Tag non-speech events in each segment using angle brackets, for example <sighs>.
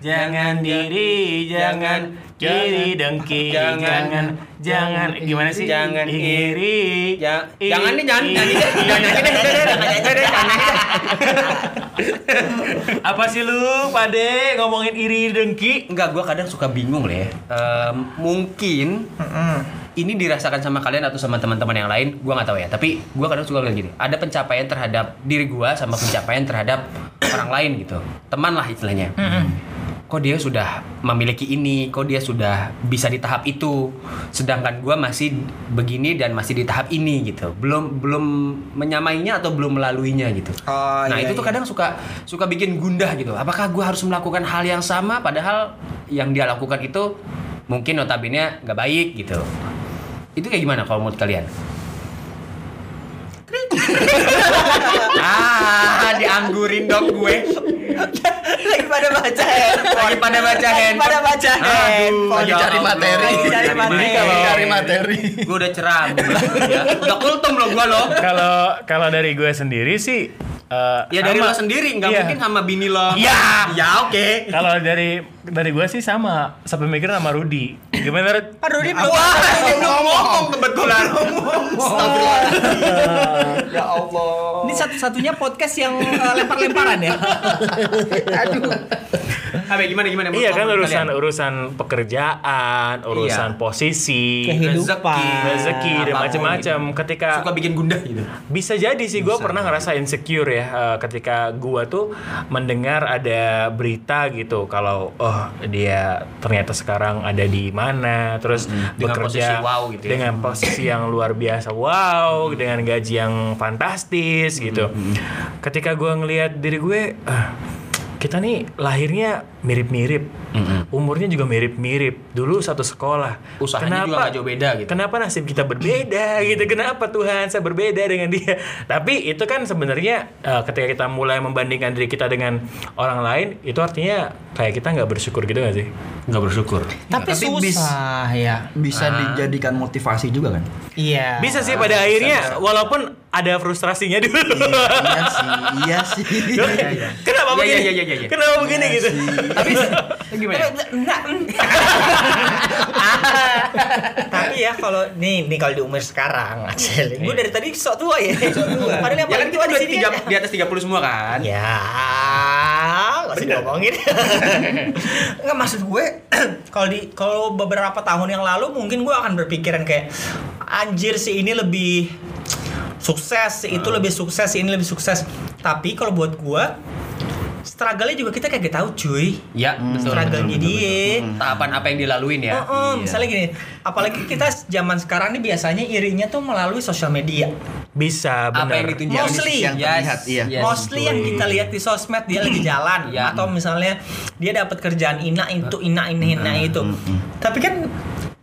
Jangan diri, jangan kiri dengki, jangan- jangan, jangan, gimana sih? jangan iri, Ja- iri, jangan deh, jangan, iri. jangan deh, jangan nyanyi deh, udah deh, jangan nyanyi deh, jangan nyanyi deh. Apa sih lu, Pade, ngomongin iri dengki? <laughs> Enggak, gue kadang suka bingung lah ya. Em, mungkin ini dirasakan sama kalian atau sama teman-teman yang lain, gue nggak tahu ya. Tapi gue kadang suka bilang gini, ada pencapaian terhadap diri gue sama pencapaian terhadap orang lain gitu. Teman lah istilahnya. Kok dia sudah memiliki ini, kok dia sudah bisa di tahap itu, sedangkan gue masih begini dan masih di tahap ini gitu. Belum belum menyamainya atau belum melaluinya gitu Oh, nah itu iya, tuh iya. kadang suka suka bikin gundah gitu. Apakah gue harus melakukan hal yang sama padahal yang dia lakukan itu mungkin notabene nggak baik gitu. Itu kayak gimana kalau menurut kalian? <laughs> ah, dianggurin dong gue. lagi pada baca handphone Lagi pada baca Lagi handphone. pada baca handphone. Lagi ya cari Allah. materi. Lagi cari Jadi materi. kalau cari materi. Gue udah cerah. ya. Udah kultum loh gue loh. Kalau kalau dari gue sendiri sih, eh, Ya dari sama. lo sendiri, nggak Iya. mungkin sama bini lo. Iya. Ya oke. Kalau dari dari gue sih sama, sepemikiran sama Rudi. Gimana Rud? Aduh, ini Wah, belum- ini belum ngomong kebetulan. Ya Allah. Ini satu-satunya podcast yang eh, lempar-lemparan ya. Abe gimana gimana? Iya Menurut kan kamu, urusan kalian? urusan pekerjaan, Iya. urusan posisi, Kehidupan. rezeki dan Apapun macam-macam. gitu. Ketika suka bikin gundah gitu. bisa jadi sih gue pernah ngerasa insecure ya eh, ketika gue tuh mendengar ada berita gitu kalau oh dia ternyata sekarang ada di mana terus Dengan bekerja posisi wow gitu ya. dengan posisi yang luar biasa wow dengan gaji yang fantastis gitu ketika gue ngelihat diri gue ah, kita nih lahirnya mirip-mirip umurnya juga mirip-mirip dulu satu sekolah Usahanya juga nggak jauh beda gitu. kenapa nasib kita berbeda gitu kenapa Tuhan saya berbeda dengan dia tapi itu kan sebenarnya eh, ketika kita mulai membandingkan diri kita dengan orang lain itu artinya kayak kita nggak bersyukur gitu nggak sih Nggak bersyukur. Tapi susah ya. Bisa dijadikan motivasi juga kan? Iya. bisa sih Ah, pada akhirnya walaupun ada frustrasinya dulu iya sih, iya sih. <laughs> <laughs> kenapa Iya, begini iya, iya, iya, iya. kenapa begini gitu Tapi gimana? <laughs> Tapi ya kalau nih nih kalau di umur sekarang, Acel. Gue dari tadi Iya. sok tua ya. Padahal yang Ya kan paling kita tua di udah sini tiga, kan. di atas 30 semua kan? Ya, nggak usah <laughs> ngomongin. Nggak maksud gue <clears throat> kalau di kalau beberapa tahun yang lalu mungkin gue akan berpikiran kayak anjir si ini lebih sukses, si itu Ah. lebih sukses, si ini lebih sukses. Tapi kalau buat gue struggle-nya juga kita kagak tahu cuy. Hmm. Ya, betul. Hmm, Struggle-nya dia. Eh, Tahapan apa yang dilaluin ya? Oh, oh, misalnya gini, apalagi kita zaman sekarang nih biasanya irinya tuh melalui sosial media. bisa apa yang benar ditunjukkan Mostly. yang Yang terlihat, iya. yes, Mostly yang kita lihat di sosmed dia lagi jalan Iya. atau misalnya dia dapat kerjaan ina itu ina ini ina itu. Tapi kan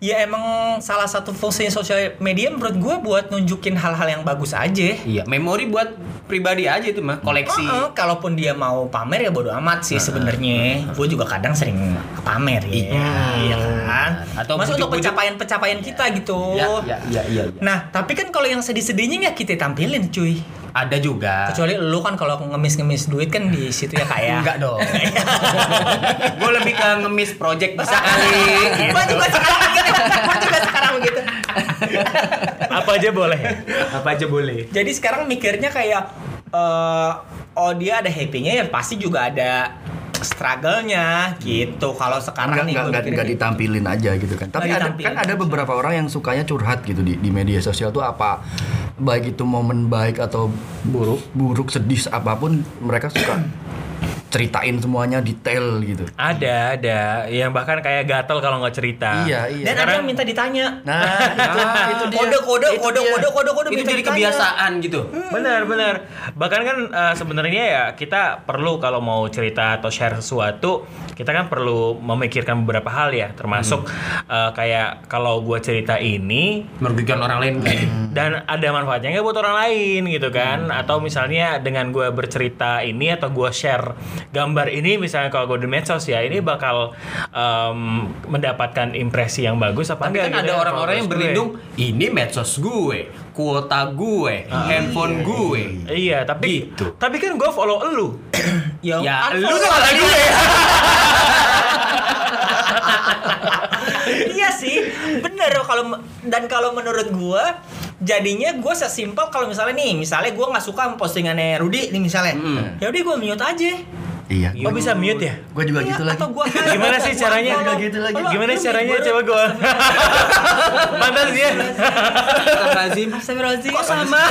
ya emang salah satu fungsinya sosial media menurut gue buat nunjukin hal-hal yang bagus aja. Iya, memori buat pribadi aja itu mah, koleksi. Oh, oh, kalaupun dia mau pamer ya bodo amat sih sebenarnya. Gue juga kadang sering pamer ya. Iya. Iya kan? Atau Atau bujuk-bujuk. untuk pencapaian-pencapaian kita gitu. Ya, ya, ya, ya, ya. Nah, tapi kan kalau yang sedih-sedihnya nggak kita tampilin, cuy. Ada juga. Kecuali lu kan kalau ngemis-ngemis duit kan di situ ya kayak. Enggak <laughs> dong. Gue lebih ke ngemis project bisa kali. Gua juga sekarang begitu. Gua juga sekarang begitu. apa aja boleh apa aja boleh Jadi sekarang mikirnya kayak eh, oh dia ada happy-nya ya pasti juga ada struggle-nya gitu. Kalau sekarang nih Enggak, gua enggak, enggak, mikirnya enggak gitu. ditampilin aja gitu kan. Tapi Enggak ada, ditampilin. kan ada beberapa orang yang sukanya curhat gitu di, di media sosial tuh apa baik itu momen baik atau buruk, buruk sedih apapun mereka suka ceritain semuanya detail gitu. ada ada yang bahkan kayak gatel kalau nggak cerita Iya, iya. Dan ada Sekarang- yang minta ditanya. Nah, itu, itu dia. Ah, Kode kode Itu kode dia. kode kode kode Itu minta jadi ditanya. Hmm. kebiasaan gitu. Benar, benar. Bahkan kan eh, sebenarnya ya kita perlu kalau mau cerita atau share sesuatu, kita kan perlu memikirkan beberapa hal ya, termasuk Hmm. eh, kayak kalau gua cerita ini Merugikan orang lain kayak gitu. dan ada manfaatnya nggak buat orang lain gitu kan? Hmm. Atau misalnya dengan gua bercerita ini atau gua share gambar ini misalnya kalau gue di medsos ya, Hmm. ini bakal em, mendapatkan impresi yang bagus apa Tapi enggak kan gitu ada ya, orang-orang yang followers gue. berlindung, ini medsos gue, kuota gue, handphone gue. Iya, tapi Gitu. tapi kan gua follow elu. Ya, Ya, unfollow. lu tuh ada gue. <laughs> iya sih, bener kalau dan kalau menurut gua jadinya gua sesimpel kalau misalnya nih, misalnya gua nggak suka sama postingannya Rudy nih misalnya, Hmm. ya udah gua mute aja. Iya. Oh bisa mute ya? Gue juga Iya, gitu lagi. Atau gua Gimana sih caranya? Gua- gua- Gitu lagi. gua- Gimana gua- caranya gua- coba gue? <laughs> Pantas ya? Astagfirullahaladzim. Astagfirullahaladzim. Kok sama?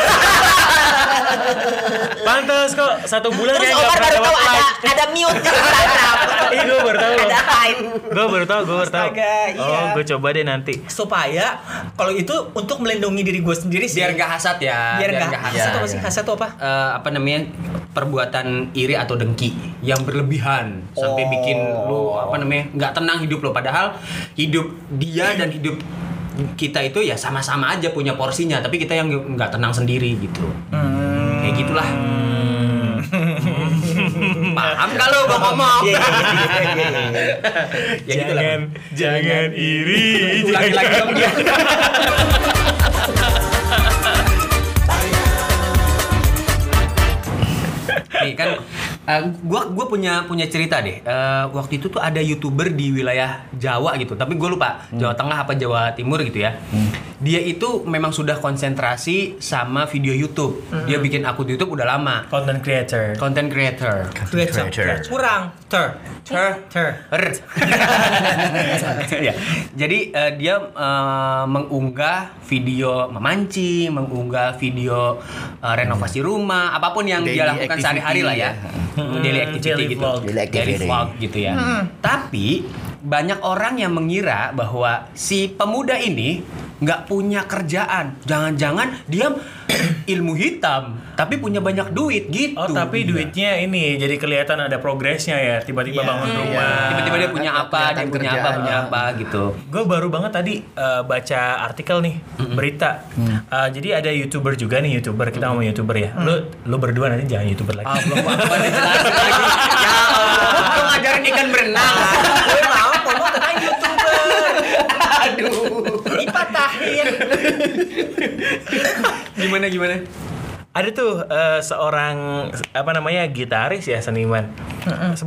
Pantas kok satu bulan Terus kayak nggak Omar baru pernah tahu dapat ada like. ada mute di <laughs> Instagram. Ih gue baru tahu. ada hide. Gue baru tahu, gue baru tahu. Astaga, iya. Oh gue coba deh nanti. Supaya kalau itu untuk melindungi diri gue sendiri sih. Biar nggak hasad ya. biar nggak nggak hasad hasad. apa sih? Hasad tuh apa? Eh, apa namanya perbuatan iri atau dengki yang berlebihan sampai bikin lu apa namanya nggak tenang hidup lo padahal hidup dia dan hidup kita itu ya sama-sama aja punya porsinya tapi kita yang nggak tenang sendiri gitu Hmm. kayak <laughs> gitulah paham kalau gua ngomong Iya, iya, iya, iya, iya. <laughs> ya gitulah jangan, jangan iri. lagi lagi dong dia nih kan eh, gua gua punya punya cerita deh Eh, waktu itu tuh ada youtuber di wilayah Jawa gitu tapi gue lupa Jawa Tengah apa Jawa Timur gitu ya dia itu memang sudah konsentrasi sama video YouTube dia bikin akun YouTube udah lama Content creator. content creator Creator. Iya, Creator. Kurang. Ter. Ter. Ter. Er. <laughs> ya. Jadi eh, dia eh, mengunggah video memancing, mengunggah video eh, renovasi rumah, apapun yang dia Hmm. Daily lakukan activity sehari-hari lah ya. ya. daily Hmm, activity daily gitu. vlog. Hmm. Daily activity. Daily vlog gitu ya. Tapi banyak orang yang mengira bahwa si pemuda ini nggak punya kerjaan. Jangan-jangan dia <clears throat> ilmu hitam, tapi punya banyak duit gitu. Oh tapi duitnya ini jadi kelihatan ada progresnya ya tiba-tiba Iya. bangun Iya. rumah. Tiba-tiba dia punya Nggak apa, dia kelihatan punya apa, kerjaan. punya apa gitu. Gue baru banget tadi eh, baca artikel nih berita. Hmm. Eh, jadi ada youtuber juga nih youtuber kita ngomong youtuber ya. Lu lu berdua nanti jangan youtuber lagi. Allah Akbar dijelasin lagi. Ya Allah. Lu ngajarin ikan berenang. Gue mau promo tentang youtuber. Aduh. Dipatahin. Gimana gimana? Ada tuh eh, seorang apa namanya gitaris ya seniman.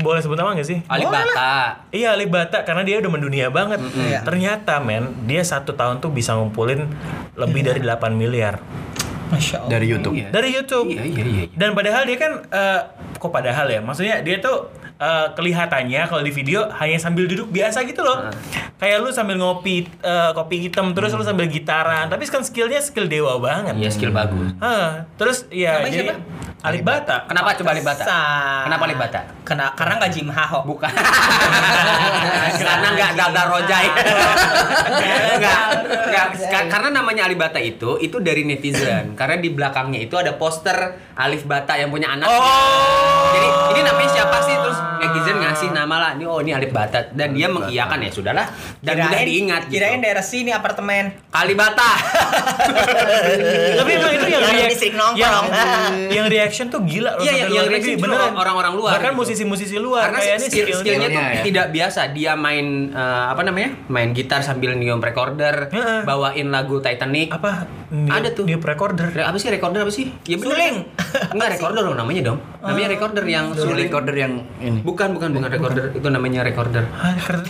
Boleh sebut nama gak sih? Alibata. Iya Ali Bata karena dia udah mendunia banget. Iya. Ternyata men dia satu tahun tuh bisa ngumpulin Iya. lebih dari 8 miliar Masya Allah. Dari YouTube. Iya. dari YouTube. Iya iya iya. Dan padahal dia kan eh, kok padahal ya, maksudnya dia tuh eh, kelihatannya kalau di video hanya sambil duduk biasa gitu Ah. loh. Kayak lu sambil ngopi eh, kopi hitam terus lu sambil gitaran, tapi kan skillnya skill dewa banget. Hmm. Iya skill bagus. Hah, terus ya Namanya jadi siapa? Alibata. Kenapa coba Alibata? Pantesan. Kenapa Alibata? Kena, karena nggak Jim Haho. Bukan. Karena nggak dada rojai. Nggak, nggak. Ka- Karena namanya Alibata itu, itu dari netizen. Karena di belakangnya itu ada poster Alif Bata yang punya anak. Jadi ini namanya siapa sih? Terus netizen ngasih nama lah. Ini oh ini Alif Bata dan dia mengiyakan ya sudahlah dan mudah diingat gitu. Kirain daerah sini apartemen. Kalibata. Iya. Tapi emang itu yang Yang react- di sering nongkrong. <laughs> yang, yang reaction tuh gila loh Iya, sampai yang- luar yang negeri, reaction tuh beneran. orang-orang luar Bahkan gitu. musisi-musisi luar Karena kayaknya skill, skillnya- skillnya tuh skillnya ya. tidak biasa. Dia main eh, apa namanya? Main gitar sambil nyium recorder, Heeh. bawain lagu Titanic. apa? Ada tuh. new recorder. Re- apa sih recorder apa sih? Ya bener. Suling. Enggak recorder dong namanya dong. Namanya recorder yang Sulit suling. recorder yang ini. Bukan bukan bukan recorder itu namanya recorder. Hah, recorder.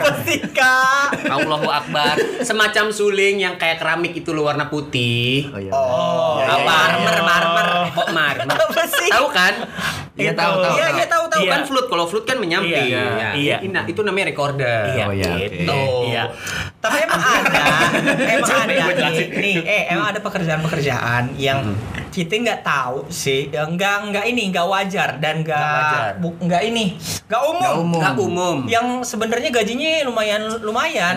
Apa sih kak? Allahu Akbar. Semacam suling yang kayak keramik itu loh, warna putih. Oh iya. Apa? Oh, iya. marmer, marmer. Kok <laughs> marmer? Apa sih? Tahu kan? Iya Itu. tahu tahu. Iya, tahu. iya tahu tahu Iya. Kan flute, kalau flute kan menyamping. Iya. Ya, Iya. ini- Nah, itu namanya recorder. Iya, Oh, iya, oke. gitu. Iya. Tapi emang ada, emang <laughs> Coba ada gua Hmm. nih, nih, eh emang ada pekerjaan-pekerjaan yang kita nggak tahu sih, ya, nggak nggak ini nggak wajar dan wajar. nggak bu- nggak ini nggak umum, Nggak umum. Nggak umum. Ya, Hmm. yang sebenarnya gajinya lumayan lumayan.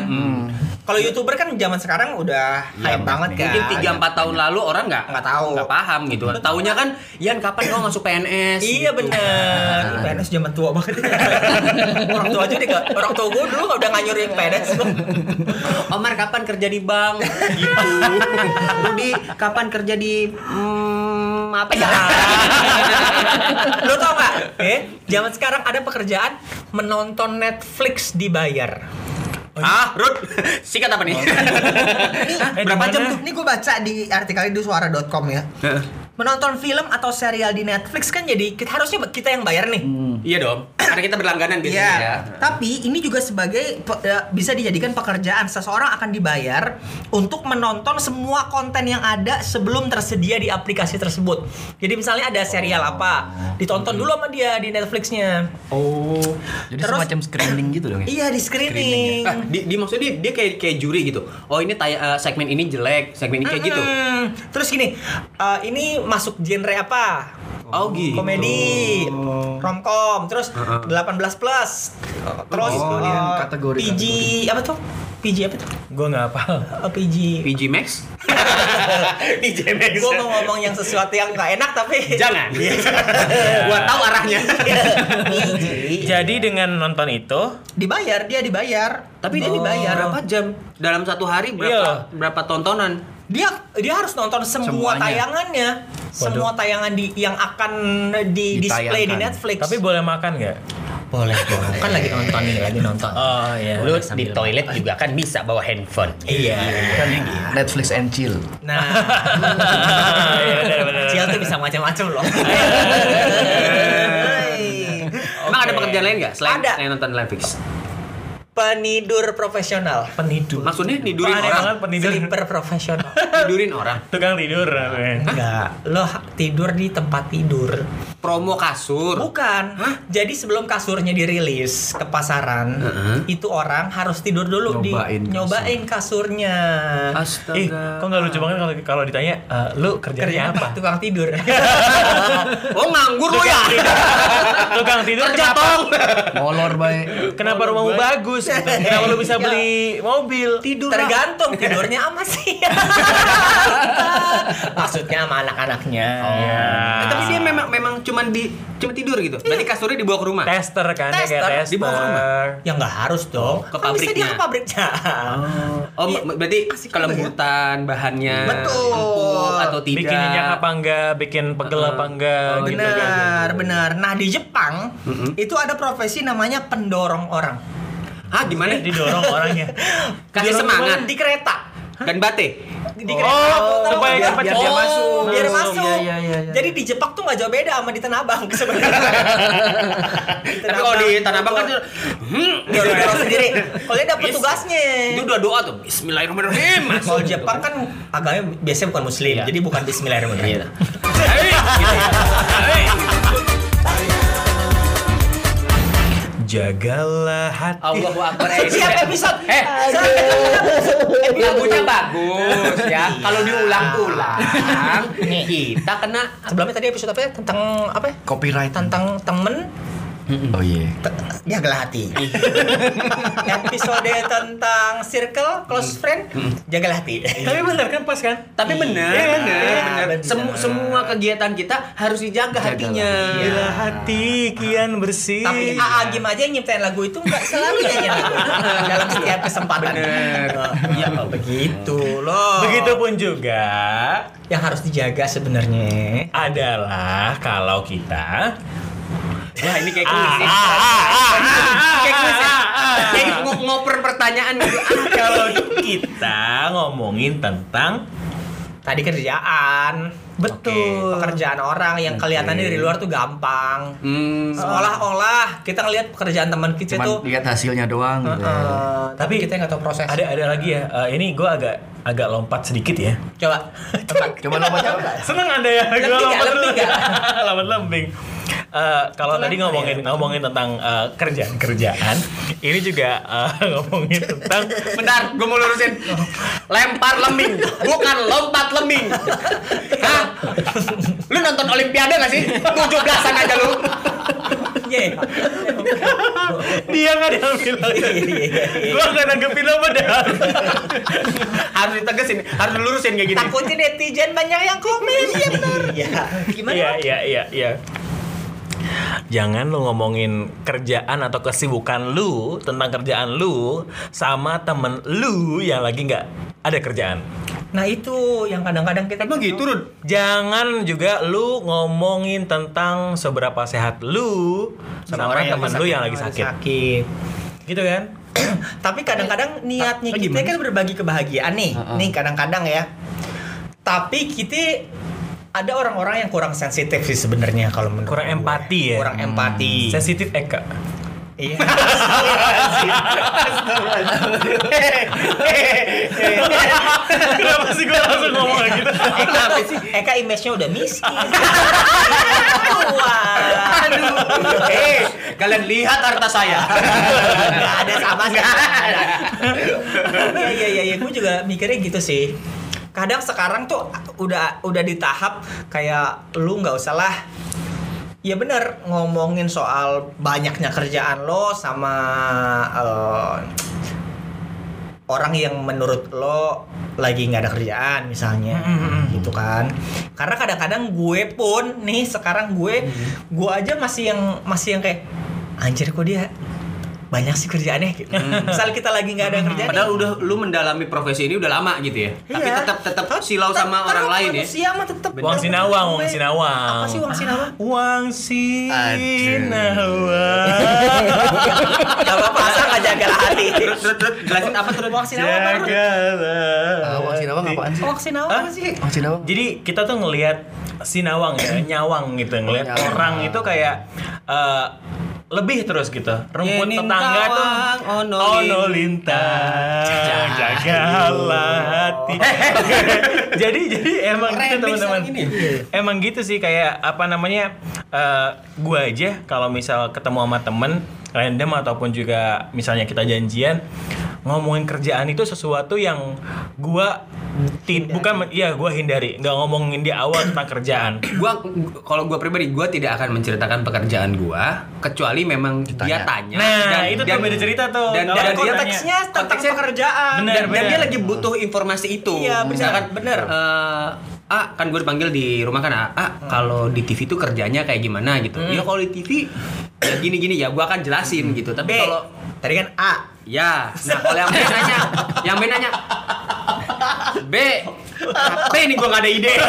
Kalau youtuber kan zaman sekarang udah hype banget kan. Iya, Mungkin 3 4 tahun lalu orang nggak Nggak tahu. iya. Nggak paham gitu. Taunya kan Yan kapan lo masuk PNS? Iya gitu. <laughs> bener, Ih, PNS zaman tua banget <laughs> Orang tua aja deh, nggak- orang tua gue dulu udah nganyurin PNS Omar kapan kerja di bank? gitu. Rudi kapan kerja di hmm, apa ya? Lo tau gak? Eh, zaman sekarang ada pekerjaan menonton Netflix dibayar. ah, Rud, sikat apa nih? Hah, Eh, Berapa di jam mana? tuh? Ini gue baca di artikel di suara.com ya. Menonton film atau serial di Netflix kan jadi kita harusnya kita yang bayar nih. <laughs> Iya dong. Karena kita berlangganan biasanya. Iya. Tapi ini juga sebagai pe- eh, bisa dijadikan pekerjaan. Seseorang akan dibayar untuk menonton semua konten yang ada sebelum tersedia di aplikasi tersebut. Jadi misalnya ada serial apa, ditonton dulu sama dia di Netflixnya. Oh, jadi Terus- semacam screening gitu dong ya? Iya di screening. Ah, di, di maksudnya dia, dia kayak kayak juri gitu. Oh ini tay- eh, segmen ini jelek, segmen ini kayak gitu. Hmm, terus gini, eh, ini masuk genre apa? Oh gitu. komedi, romcom, terus 18 plus, terus gitu, eh, yang kategori- PG apa tuh? PG apa tuh? Gue nggak hafal. Eh, PG. PG <laughs> Max? PG Max. Gue mau ngomong yang sesuatu yang gak enak tapi Jangan. <laughs> Gua tahu arahnya. PG. Jadi dengan nonton itu, dibayar dia dibayar. Tapi dia Oh. dibayar berapa jam? Dalam satu hari Iya. berapa berapa tontonan? Dia dia harus nonton semua Semuanya. tayangannya, semua tayangan di yang akan di display di Ditayangkan. Netflix. tapi boleh makan nggak? boleh boleh. Kan lagi nonton nih, lagi nonton. Oh iya. Lu di toilet juga kan bisa bawa handphone. Iya. Kan Netflix and chill. <laughs> Nah, Iya, benar, benar. Cil tuh bisa macam-macam <laughs> loh. Iya. Emang ada pekerjaan lain nggak selain, Ada. selain nonton Netflix? Penidur profesional. Penidur. Maksudnya nidurin Aneh banget orang, penidur. Sleeper profesional. nidurin orang. Tukang tidur. ya? namanya. <laughs> Enggak, lo ha- tidur di tempat tidur. Promo kasur. Bukan. Jadi sebelum kasurnya dirilis ke pasaran, itu orang harus tidur dulu Nyobain di kasur. nyobain kasurnya. Astaga. Ih, Eh, kok nggak lucu banget kalau kalau ditanya, "Eh, lu kerjanya Kerjaan apa? Tukang tidur. Oh nganggur lo ya. Iya. Tukang tidur <laughs> Kerja kenapa? <laughs> tong. Molor baik. Kenapa rumahmu bagus? gitu? Kenapa lu bisa Iya. beli mobil? tidur <laughs> tergantung tidurnya sama sih maksudnya sama anak-anaknya Iya. Ya. Eh, Tapi dia memang memang cuman di cuma tidur gitu. Berarti kasurnya dibawa ke rumah. tester kan ya kayak Tester, tester. dibawa ke rumah. ya nggak harus dong Ke Kan bisa dia pabriknya. ke pabriknya Oh, ma- ma- berarti Iya. Asik juga ya. kelembutan bahannya Betul. empuk atau tidak. Bikin minyak apa enggak, bikin pegel apa enggak. Oh, gitu. gitu. benar benar nah di Jepang itu ada profesi namanya pendorong orang Hah, gimana? gitu. Didorong <laughs> orangnya. Kasih Dorong semangat. orang di kereta Dan Kan bate. di Oh, kereta Tahu, supaya biar- cepet biar dia oh, masuk biar masuk. masuk Iya, iya, iya, iya. jadi di Jepang tuh nggak jauh beda sama di Tanah Abang <laughs> sebenarnya Di Tapi kalau di Tanah Abang kan Bogor. hmm, Dia udah dorong sendiri kalau dia dapat Yes. tugasnya itu udah doa tuh. Bismillahirrahmanirrahim. Masuk. Kalau Jepang kan agamanya biasanya bukan muslim, Iya. jadi bukan bismillahirrahmanirrahim. Hei, gitu ya. Hei. Jagalah hati. Allahu akbar. eh, ini Siap kayak- episode. Eh, Siap. lagunya bagus ya. Kalau diulang-ulang, kita kena Sebelumnya tadi episode apa ya? Tentang apa ya? Copyright. Tentang temen Oh iya. jagalah hati. <laughs> episode tentang circle, close friend, jagalah hati. Tapi benar kan pas kan? tapi benar, Iya, benar, iya, benar. benar. Semu- semua kegiatan kita harus dijaga iya. hatinya. Bila hati kian bersih. Tapi ah, AA Gim aja yang nyiptain lagu itu nggak selalu nyanyi <laughs> lagu dalam setiap kesempatan. Bener. Iya, begitu loh. Begitupun juga yang harus dijaga sebenarnya. adalah kalau kita Wah, ini kayak kuis. Ah, ya. ah, ah, ah, Kayak kuis. ah, ya. ah, ah. Kayak ngo- ngoper pertanyaan gitu. Ah, kalau kita ngomongin tentang tadi kerjaan Betul. pekerjaan orang yang kelihatannya dari luar tuh gampang Hmm. seolah-olah kita ngelihat pekerjaan teman kita Cuman tuh lihat hasilnya doang gitu. ya. eh, tapi Tapi- kita nggak tahu proses ada ada lagi ya. Eh, ini gue agak agak lompat sedikit ya. coba <laughs> Coba lompat apa? Seneng anda ya, gue Lembing nggak? lompat Lembing dulu. nggak? <laughs> Lompat lembing. Eh, kalau tadi ngomongin ngomongin tentang eh, kerjaan-kerjaan, ini juga eh, <laughs> ngomongin tentang Bentar, gue mau lurusin. Lempar lembing, bukan lompat lembing. Hah? Lu nonton Olimpiade gak sih? 17-an aja lu. Iya, dia nggak ada yang <laughs> bilang. iya, iya, iya, iya. Gue nggak nanggepin lo padahal. Harus ditegesin, harus dilurusin kayak gini. takutnya netizen banyak yang komen iya benar gimana Iya iya iya iya. Jangan lu ngomongin kerjaan atau kesibukan lu tentang kerjaan lu sama temen lu yang lagi nggak ada kerjaan. nah itu yang kadang-kadang kita Emang gitu, Rud? Jangan juga lu ngomongin tentang seberapa sehat lu sama, orang yang temen lagi lu sakit. yang lagi sakit. sakit Gitu kan? <clears throat> tapi kadang-kadang niatnya kita kan berbagi kebahagiaan nih nih kadang-kadang ya tapi kita ada orang-orang yang kurang sensitif sih sebenarnya kalau menurut Kurang gue. empati ya? kurang empati Sensitif eh, Eka. <laughs> iya Kenapa sih gue langsung ngomong kayak gitu? Eka apa sih? Eka Eh, image-nya udah <laughs> miskin. Wah. Eh, Hei, kalian lihat harta saya. Gak ada sama sekali. Iya iya iya, ya. gue juga mikirnya gitu sih. Kadang sekarang tuh udah udah di tahap kayak lu nggak usah lah. Ya bener ngomongin soal banyaknya kerjaan lo sama eh, orang yang menurut lo lagi nggak ada kerjaan misalnya gitu kan karena kadang-kadang gue pun nih sekarang gue gue aja masih yang masih yang kayak anjir kok dia banyak sih kerjaannya gitu misal kita lagi nggak ada kerjaan Padahal udah lu mendalami profesi ini udah lama gitu ya. Tapi Iya. tetap tetap silau sama orang lain ya. Iya, mah tetap Wang Sinawang, Wang Sinawang. Apa sih Wang Sinawang? Wang Sinawang. Gak apa-apa, asal <laughs> nggak jaga hati. Terus terus terus, jelasin apa terus Wang Sinawang apa? Ruth? Ah, Wang Sinawang apaan sih? Wang Sinawang apa sih? Wang Sinawang. Jadi kita tuh ngelihat sinawang ya, nyawang gitu, ngelihat Nyawang. orang itu kayak eh, lebih terus gitu. Rumput Yenin tetangga tuh kawang, ono lintang. lintang, jagalah hati. jadi jadi emang gitu Remix teman-teman. yang ini. Emang gitu sih kayak apa namanya? eh, gua aja kalau misal ketemu sama temen random ataupun juga misalnya kita janjian ngomongin kerjaan itu sesuatu yang gua ti- bukan iya gua hindari nggak ngomongin di awal tentang kerjaan gua kalau gua pribadi gua tidak akan menceritakan pekerjaan gua kecuali memang dia tanya Nah, itu tuh beda cerita tuh. dan, Kalau dan aku dia tanya. teksnya Konteksnya tentang konteksnya pekerjaan. Bener, dan, dan bener. dia lagi butuh informasi itu Iya, bener, misalkan bener. eh, Ah, kan gue dipanggil di rumah kan. Ah, ah, kalau di TV tuh kerjanya kayak gimana gitu. Hmm. Ya kalau di TV ya gini-gini ya gua akan jelasin gitu. Tapi B. kalau Tadi kan A. ya, nah kalau yang B nanya, yang B nanya B apa ini gua nggak ada ide. Iya,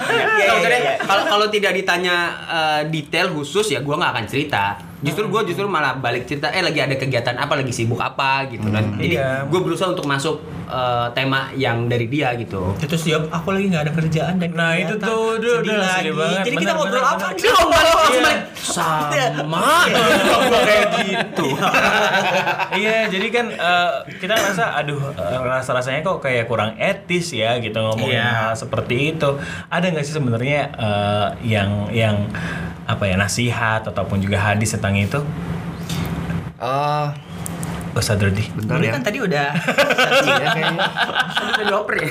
Kalau iya, misalnya, iya. kalau kalau tidak ditanya eh, detail khusus ya gue nggak akan cerita. Justru gue justru malah balik cerita. Eh lagi ada kegiatan apa, lagi sibuk apa gitu kan. Hmm. Jadi Iya. gue berusaha untuk masuk eh, tema yang dari dia gitu. Ya, Terus dia, aku lagi nggak ada kerjaan dan Nah, ternyata itu tuh, aduh, sedih udah, sedih lagi. banget. Jadi kita Bener, ngobrol bener, apa? bener. Dia ngobrol apa? Langsung Iya. balik, Sama. Iya. Gua kayak gitu. iya jadi kan eh, kita ngerasa aduh rasa rasanya kok kayak kurang etis ya gitu ngomongin hal seperti itu ada nggak sih sebenarnya eh, yang yang apa ya nasihat ataupun juga hadis tentang itu Eh, Ustaz Rudi bentar Ini ya. kan tadi udah <laughs> Iya, kayaknya. Udah dioper ya?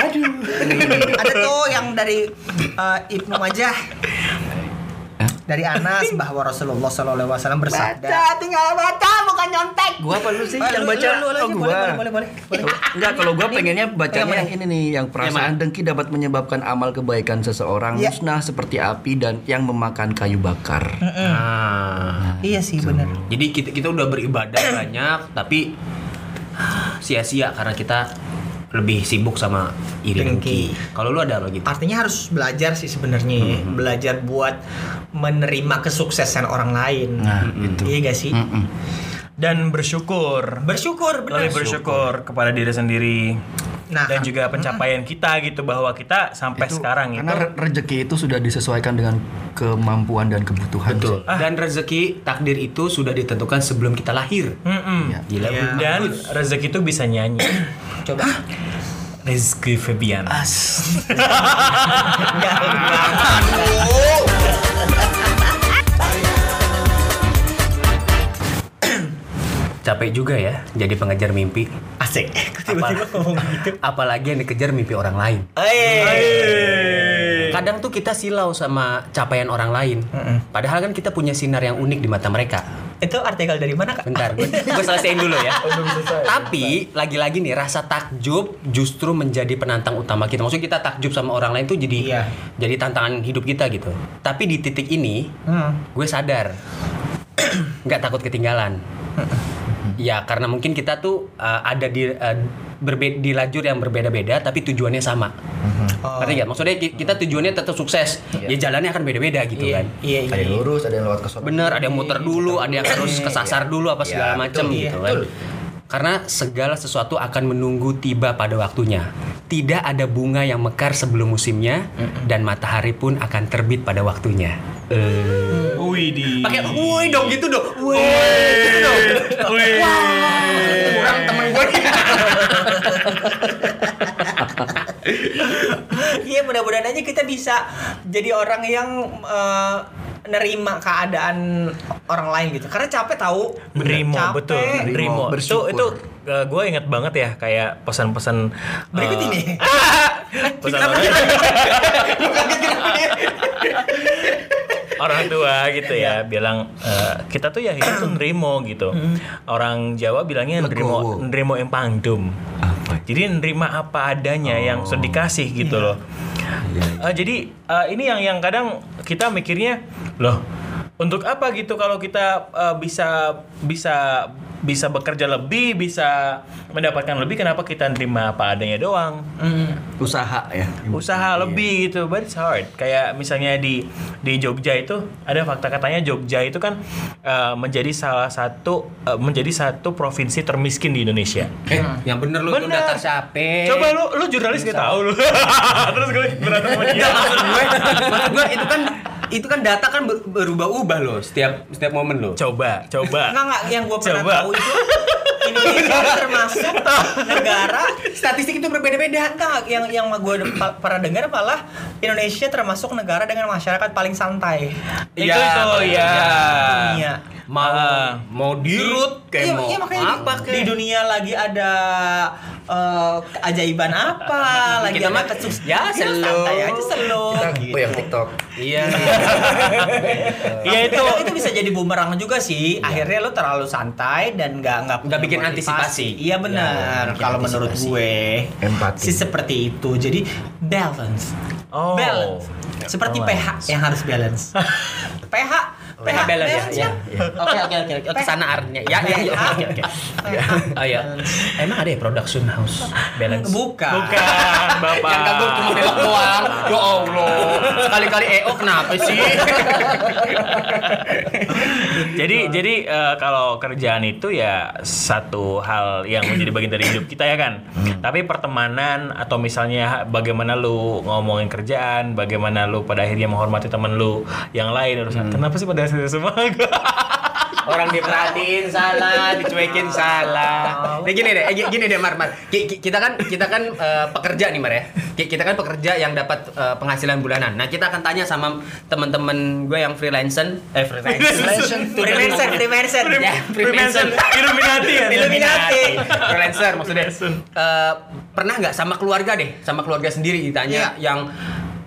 ada tuh yang dari eh, Ibnu Majah dari Anas bahwa Rasulullah Shallallahu Alaihi Wasallam bersabda tinggal baca bukan nyontek. Gua apa lu sih Ah, yang lu- baca? lu- lu aja, Oh, gua. boleh, boleh, boleh, boleh. Enggak, kalau gua pengennya Yang mana? bacanya yang ini nih, yang perasaan dengki dapat menyebabkan amal kebaikan seseorang Iya. musnah seperti api dan yang memakan kayu bakar. Nah, iya sih benar jadi kita kita udah <clears throat> beribadah banyak tapi <sighs> sia-sia karena kita lebih sibuk sama iri Dengki. dengki. Kalau lu ada lo gitu. artinya harus belajar sih sebenarnya ya. belajar buat menerima kesuksesan orang lain Nah, itu. iya gak sih Mm-mm. dan bersyukur bersyukur benar lebih bersyukur kepada diri sendiri Nah, dan juga pencapaian kita gitu bahwa kita sampai Itu sekarang gitu. karena ah, itu re- rezeki itu sudah disesuaikan dengan kemampuan dan kebutuhan. Betul. sih. Ah. Dan rezeki takdir itu sudah ditentukan sebelum kita lahir. Mm-mm. Ya. Gila Iya. Bu. Ah. dan rezeki itu bisa nyanyi coba Rizky Febian Enggak, enggak. capek juga ya jadi pengejar mimpi. asik <laughs> tiba-tiba ngomong gitu <laughs> Apalagi yang dikejar mimpi orang lain. Eh. Hey. Kadang tuh kita silau sama capaian orang lain. Padahal kan kita punya sinar yang unik di mata mereka. itu artikel dari mana kak Bentar, <laughs> gue gue selesaiin dulu ya. Oh, Tapi lagi-lagi nih rasa takjub justru menjadi penantang utama kita. Maksudnya kita takjub sama orang lain tuh jadi Iya. jadi tantangan hidup kita gitu. Tapi di titik ini gue sadar <clears throat> nggak takut <laughs> ketinggalan. Ya karena mungkin kita tuh uh, ada di uh, berbe- di lajur yang berbeda-beda tapi tujuannya sama. Oh. Ngerti nggak? Maksudnya ki- kita tujuannya tetap sukses. Ya jalannya akan beda-beda gitu iya kan. iya Ada iya yang gitu. lurus, ada yang lewat ke sono. Iya. Bener, ada yang muter dulu, ada yang harus kesasar dulu apa segala macem gitu betul, iya, kan. betul. Karena segala sesuatu akan menunggu tiba pada waktunya. Tidak ada bunga yang mekar sebelum musimnya dan matahari pun akan terbit pada waktunya. Eh. Wih di. Pakai woi dong gitu dong. Woi gitu dong. Kurang temen gue nih. Iya mudah-mudahan aja kita bisa jadi orang yang eh, nerima keadaan orang lain gitu. Karena capek tahu. Nerimo, Capek. betul. Nerimo. Nerimo, Itu bersyukur. itu gue inget banget ya kayak pesan-pesan Berikut eh, ini. <laughs> kan, pesan ya? orang, gitu orang tua gitu ya bilang eh, kita tuh ya hidup tuh nerimo gitu. Orang Jawa bilangnya nerimo Legowo. nerimo empangdum. Jadi nerima apa adanya yang sudah dikasih gitu loh. Eh, jadi eh, ini yang yang kadang kita mikirnya loh untuk apa gitu kalau kita eh, bisa bisa bisa bekerja lebih bisa mendapatkan lebih kenapa kita nerima apa adanya doang usaha ya usaha Iya. lebih gitu but it's hard kayak misalnya di di Jogja itu ada fakta katanya Jogja itu kan eh, menjadi salah satu eh, menjadi satu provinsi termiskin di Indonesia Eh, yang bener lu tuh Bener. datar siapa? coba lu lu jurnalis gak tahu lu <laughs> terus gue berantem sama dia Enggak, maksud gue, maksud gue itu kan itu kan data kan ber- berubah-ubah loh setiap setiap momen loh. coba coba Enggak enggak yang gue pernah Coba. tahu itu Indonesia termasuk negara Statistik itu berbeda-beda. enggak yang yang gue pernah dengar malah Indonesia termasuk negara dengan masyarakat paling santai. Iya, itu itu ya Dunia. Mau Ah. mau dirut kayak Iya, mau iya, makanya di- apa di kayak. dunia lagi ada eh, keajaiban apa, lagi Kita ada mah- kesuksesan. ya, oh slow. santai aja slow. kita ya, Gitu. Oh, yang TikTok Iya. Iya, Tapi itu kadang itu bisa jadi bumerang juga sih. Akhirnya lo terlalu santai dan nggak nggak punya Iya. Nggak bikin motivasi. antisipasi. Iya benar. Nggak bikin Kalau menurut antisipasi. gue Empati. sih seperti itu. Jadi balance. Oh. Balance. Seperti Balance. pH yang harus <laughs> balance. pH PH pH balance ya. ya. ya. Oke oke oke oke ke sana artinya. Ya ya ya. Oke oke. Oh ya. Emang ada ya production house balance. Ah. Bukan. bukan bapak <laughs> Yang kagum cuma nengok doang. Ya Allah. Sekali-kali EO kenapa sih? jadi jadi eh, kalau kerjaan itu ya satu hal yang menjadi bagian dari hidup kita ya kan. Tapi pertemanan atau misalnya bagaimana lu ngomongin kerjaan, bagaimana lu pada akhirnya menghormati temen lu yang lain urusan. Kenapa sih pada akhirnya semua? <laughs> Orang diperhatiin salah, dicuekin salah. Nah, gini deh, eh, gini deh Mar, Mar. Ki- ki- Kita kan kita kan eh, pekerja nih Mar ya. Ki- Kita kan pekerja yang dapat eh, penghasilan bulanan. Nah, kita akan tanya sama teman-teman gue yang freelancer, eh freelancer. Freelancer, freelancer. Ya, freelancer. Illuminati ya. Illuminati. freelancer maksudnya. Freelancer. Eh, pernah nggak sama keluarga deh, sama keluarga sendiri ditanya yang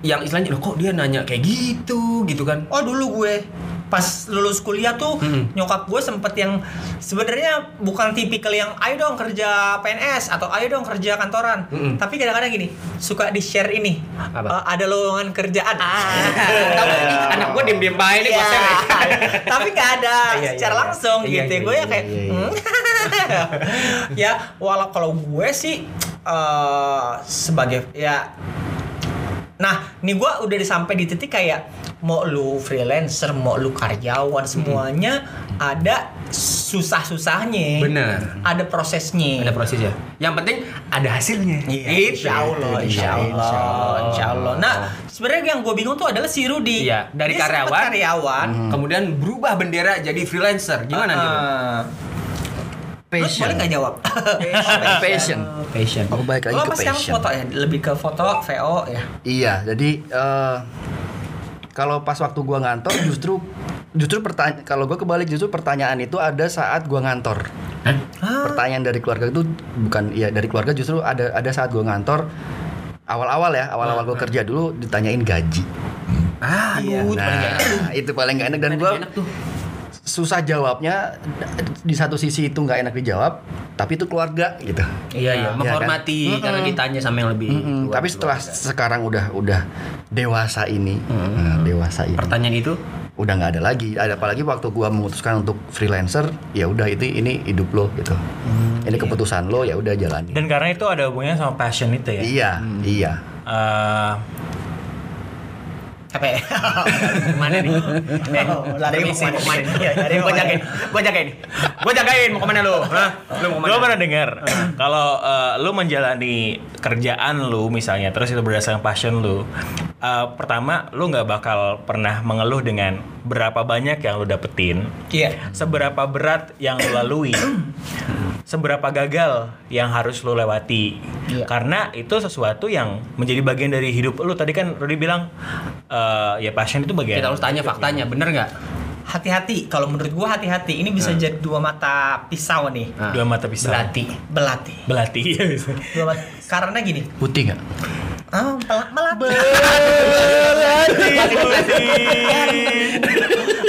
yang istilahnya loh kok dia nanya kayak gitu gitu kan Oh dulu gue pas lulus kuliah tuh Mm-mm. nyokap gue sempet yang sebenarnya bukan tipikal yang ayo dong kerja PNS atau ayo dong kerja kantoran Mm-mm. tapi kadang-kadang gini suka di share ini Apa? Ah. "Eh, ada lowongan kerjaan <laughs> Tahu ini anak gue diem diem baik nih Iya. gue share ya. tapi nggak ada Iya, secara iya, iya. langsung Iya, gitu iya, gue ya iya, kayak iya, iya. "Hmm?" <laughs> ya walau kalau gue sih eh, sebagai ya Nah, nih gue udah sampai di titik kayak mau lu freelancer, mau lu Hmm. karyawan semuanya ada susah-susahnya. Bener. Ada prosesnya. <laughs> ada prosesnya yang penting ada hasilnya Gitu. Iya, insya Allah, insya Allah, insya Allah. Nah, sebenarnya yang gue bingung tuh adalah si Rudy. Iya, dari Dia sempet karyawan. Hmm. karyawan. kemudian berubah bendera jadi freelancer gimana Ah. gitu Lu boleh nggak jawab? <laughs> passion passion aku balik lagi Lo ke apa sekarang passion foto ya? Lebih ke foto, VO ya? Iya, jadi eh, kalau pas waktu gua ngantor justru justru pertanyaan kalau gua kebalik justru pertanyaan itu ada saat gua ngantor. Pertanyaan dari keluarga itu bukan iya dari keluarga justru ada ada saat gua ngantor awal-awal ya awal-awal gua kerja dulu ditanyain gaji. ah Iya. aduh Nah, <clears throat> itu paling gak enak dan gua enak tuh susah jawabnya di satu sisi itu nggak enak dijawab tapi itu keluarga gitu. iya iya kan? menghormati karena ditanya sama yang lebih Mm-mm, luar- tapi setelah luar. sekarang udah udah dewasa ini, nah, dewasa ini. pertanyaan itu udah nggak ada lagi ada apalagi waktu gua memutuskan untuk freelancer ya udah itu ini hidup lo gitu ini keputusan lo ya udah jalani Dan karena itu ada hubungannya sama passion itu ya. iya iya Eh, Apa <laughs> ya? Mana nih? Eh, lari mau Permisi, kemana? mau kemana? Iya, lari mau Gua jagain, kemana? gua jagain, gua jagain. Mau kemana lu? Hah? Lu Gue mau kemana? pernah dengar kalau eh, lu menjalani kerjaan lu misalnya terus itu berdasarkan passion lu, eh, pertama lu nggak bakal pernah mengeluh dengan berapa banyak yang lu dapetin, Iya. seberapa berat yang lu lalui, seberapa gagal yang harus lu lewati. Iya. Karena itu sesuatu yang menjadi bagian dari hidup lu. Tadi kan Rudy bilang eh, ya passion itu bagian. Kita harus tanya faktanya, bener nggak? Hati-hati kalau menurut gua hati-hati. Ini bisa jadi dua mata pisau nih. Nah, dua mata pisau. Berarti. Belati. Belati. iya, bisa. Dua mata. Karena gini. Putih nggak? Ah, pel- melati. Belati. Belati.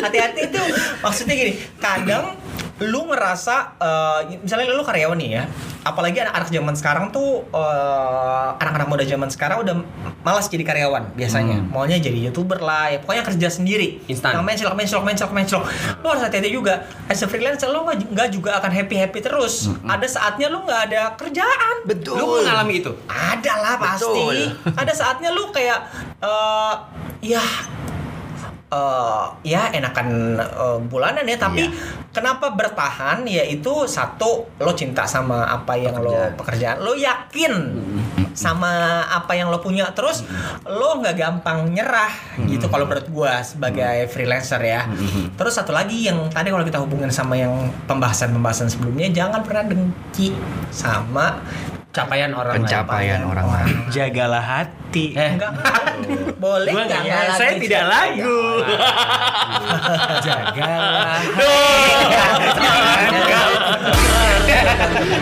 hati-hati itu maksudnya gini kadang lu ngerasa eh, misalnya lu karyawan nih ya apalagi anak-anak zaman sekarang tuh eh, anak-anak muda zaman sekarang udah malas jadi karyawan biasanya maunya jadi youtuber lah ya pokoknya kerja sendiri Instan. Yang mencilok mencilok mencilok mencilok lu harus hati-hati juga as a freelancer lu nggak nggak juga akan happy happy terus ada saatnya lu nggak ada kerjaan Betul. Lu mengalami itu? ada lah pasti. Betul. Ada saatnya lu kayak eh ya eh, ya enakan eh, bulanan ya, tapi kenapa bertahan? Yaitu satu lo cinta sama apa yang lo pekerjaan, lo yakin sama apa yang lo punya, terus lo nggak gampang nyerah gitu kalau menurut gua sebagai freelancer ya. Terus satu lagi yang tadi kalau kita hubungin sama yang pembahasan-pembahasan sebelumnya, jangan pernah dengki sama Capaian orang lain. Pencapaian orang lain. jagalah hati. Eh, ya? Enggak. Boleh Gua enggak? nggak- ya? saya tidak <laughs> lagu. Iya, jagalah.